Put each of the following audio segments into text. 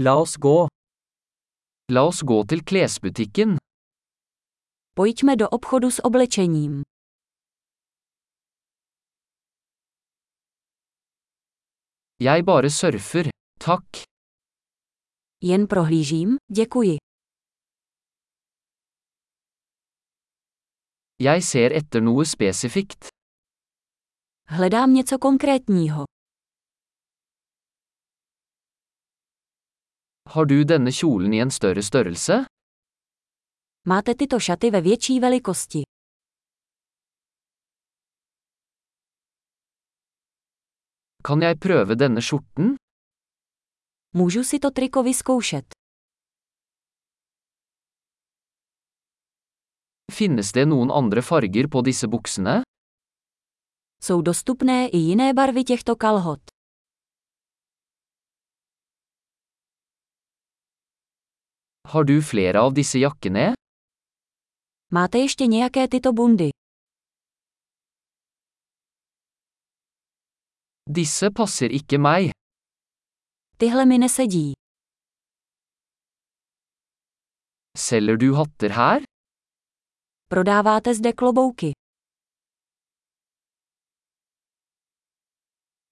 La oss gå. La oss gå til klesbutikken. Pojďme do obchodu s oblečením. Jeg bare surfer. Takk. Jen prohlížím, děkuji. Jeg ser etter noe spesifikt. Hledám něco konkrétního. Har du denne kjolen i en større størrelse? Máte tyto šaty ve větší velikosti. Kan jeg prøve denne skjorten? Můžu si to triko vyzkoušet. Finnes det noen andre farger på disse buksene? Jsou dostupné i jiné barvy těchto kalhot. Har du flere av disse jakkene? Máte ještě nějaké tyto bundy? Disse passer ikke meg. Tyhle mi nesedí. Selger du hatter her? Prodáváte zde klobouky.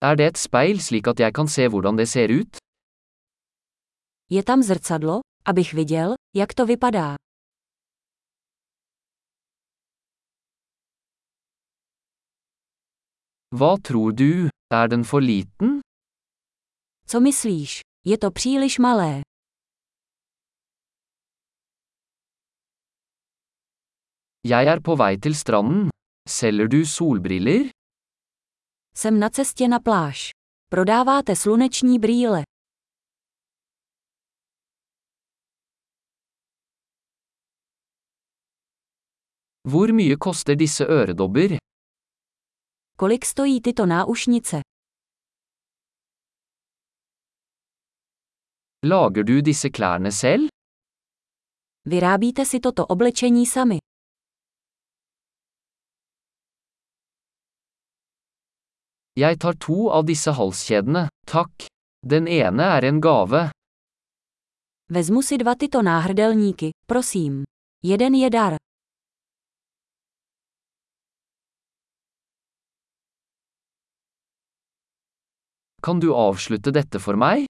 Er det et speil slik at jeg kan se hvordan det ser ut? Je tam zrcadlo, abych viděl, jak to vypadá. Hva tror du? Er den for liten? Co myslíš? Je to příliš malé. Jeg er på vei til stranden. Selger du solbriller? Jsem na cestě na pláž. Prodáváte sluneční brýle. Hvor mye koster disse øredobber? Kolik stojí tyto náušnice? Lager du disse klærne selv? Vyrábíte si toto oblečení sami. Jeg tar to av disse halskjedene, takk. Den ene er en gave. Vezmu si dva tyto náhrdelníky, prosím. Jeden je dar. Kan du avslutte dette for meg?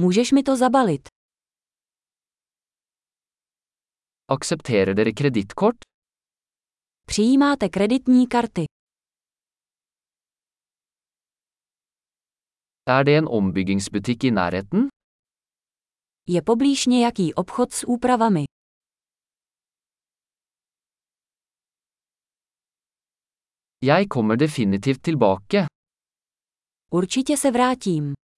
Můžeš mi to zabalit. Aksepterer dere kredittkort? Přijímáte kreditní karty. Er det en ombyggingsbutikk i nærheten? Je poblíž nějaký obchod s úpravami. Jeg kommer definitivt tilbake. Určitě se vrátím.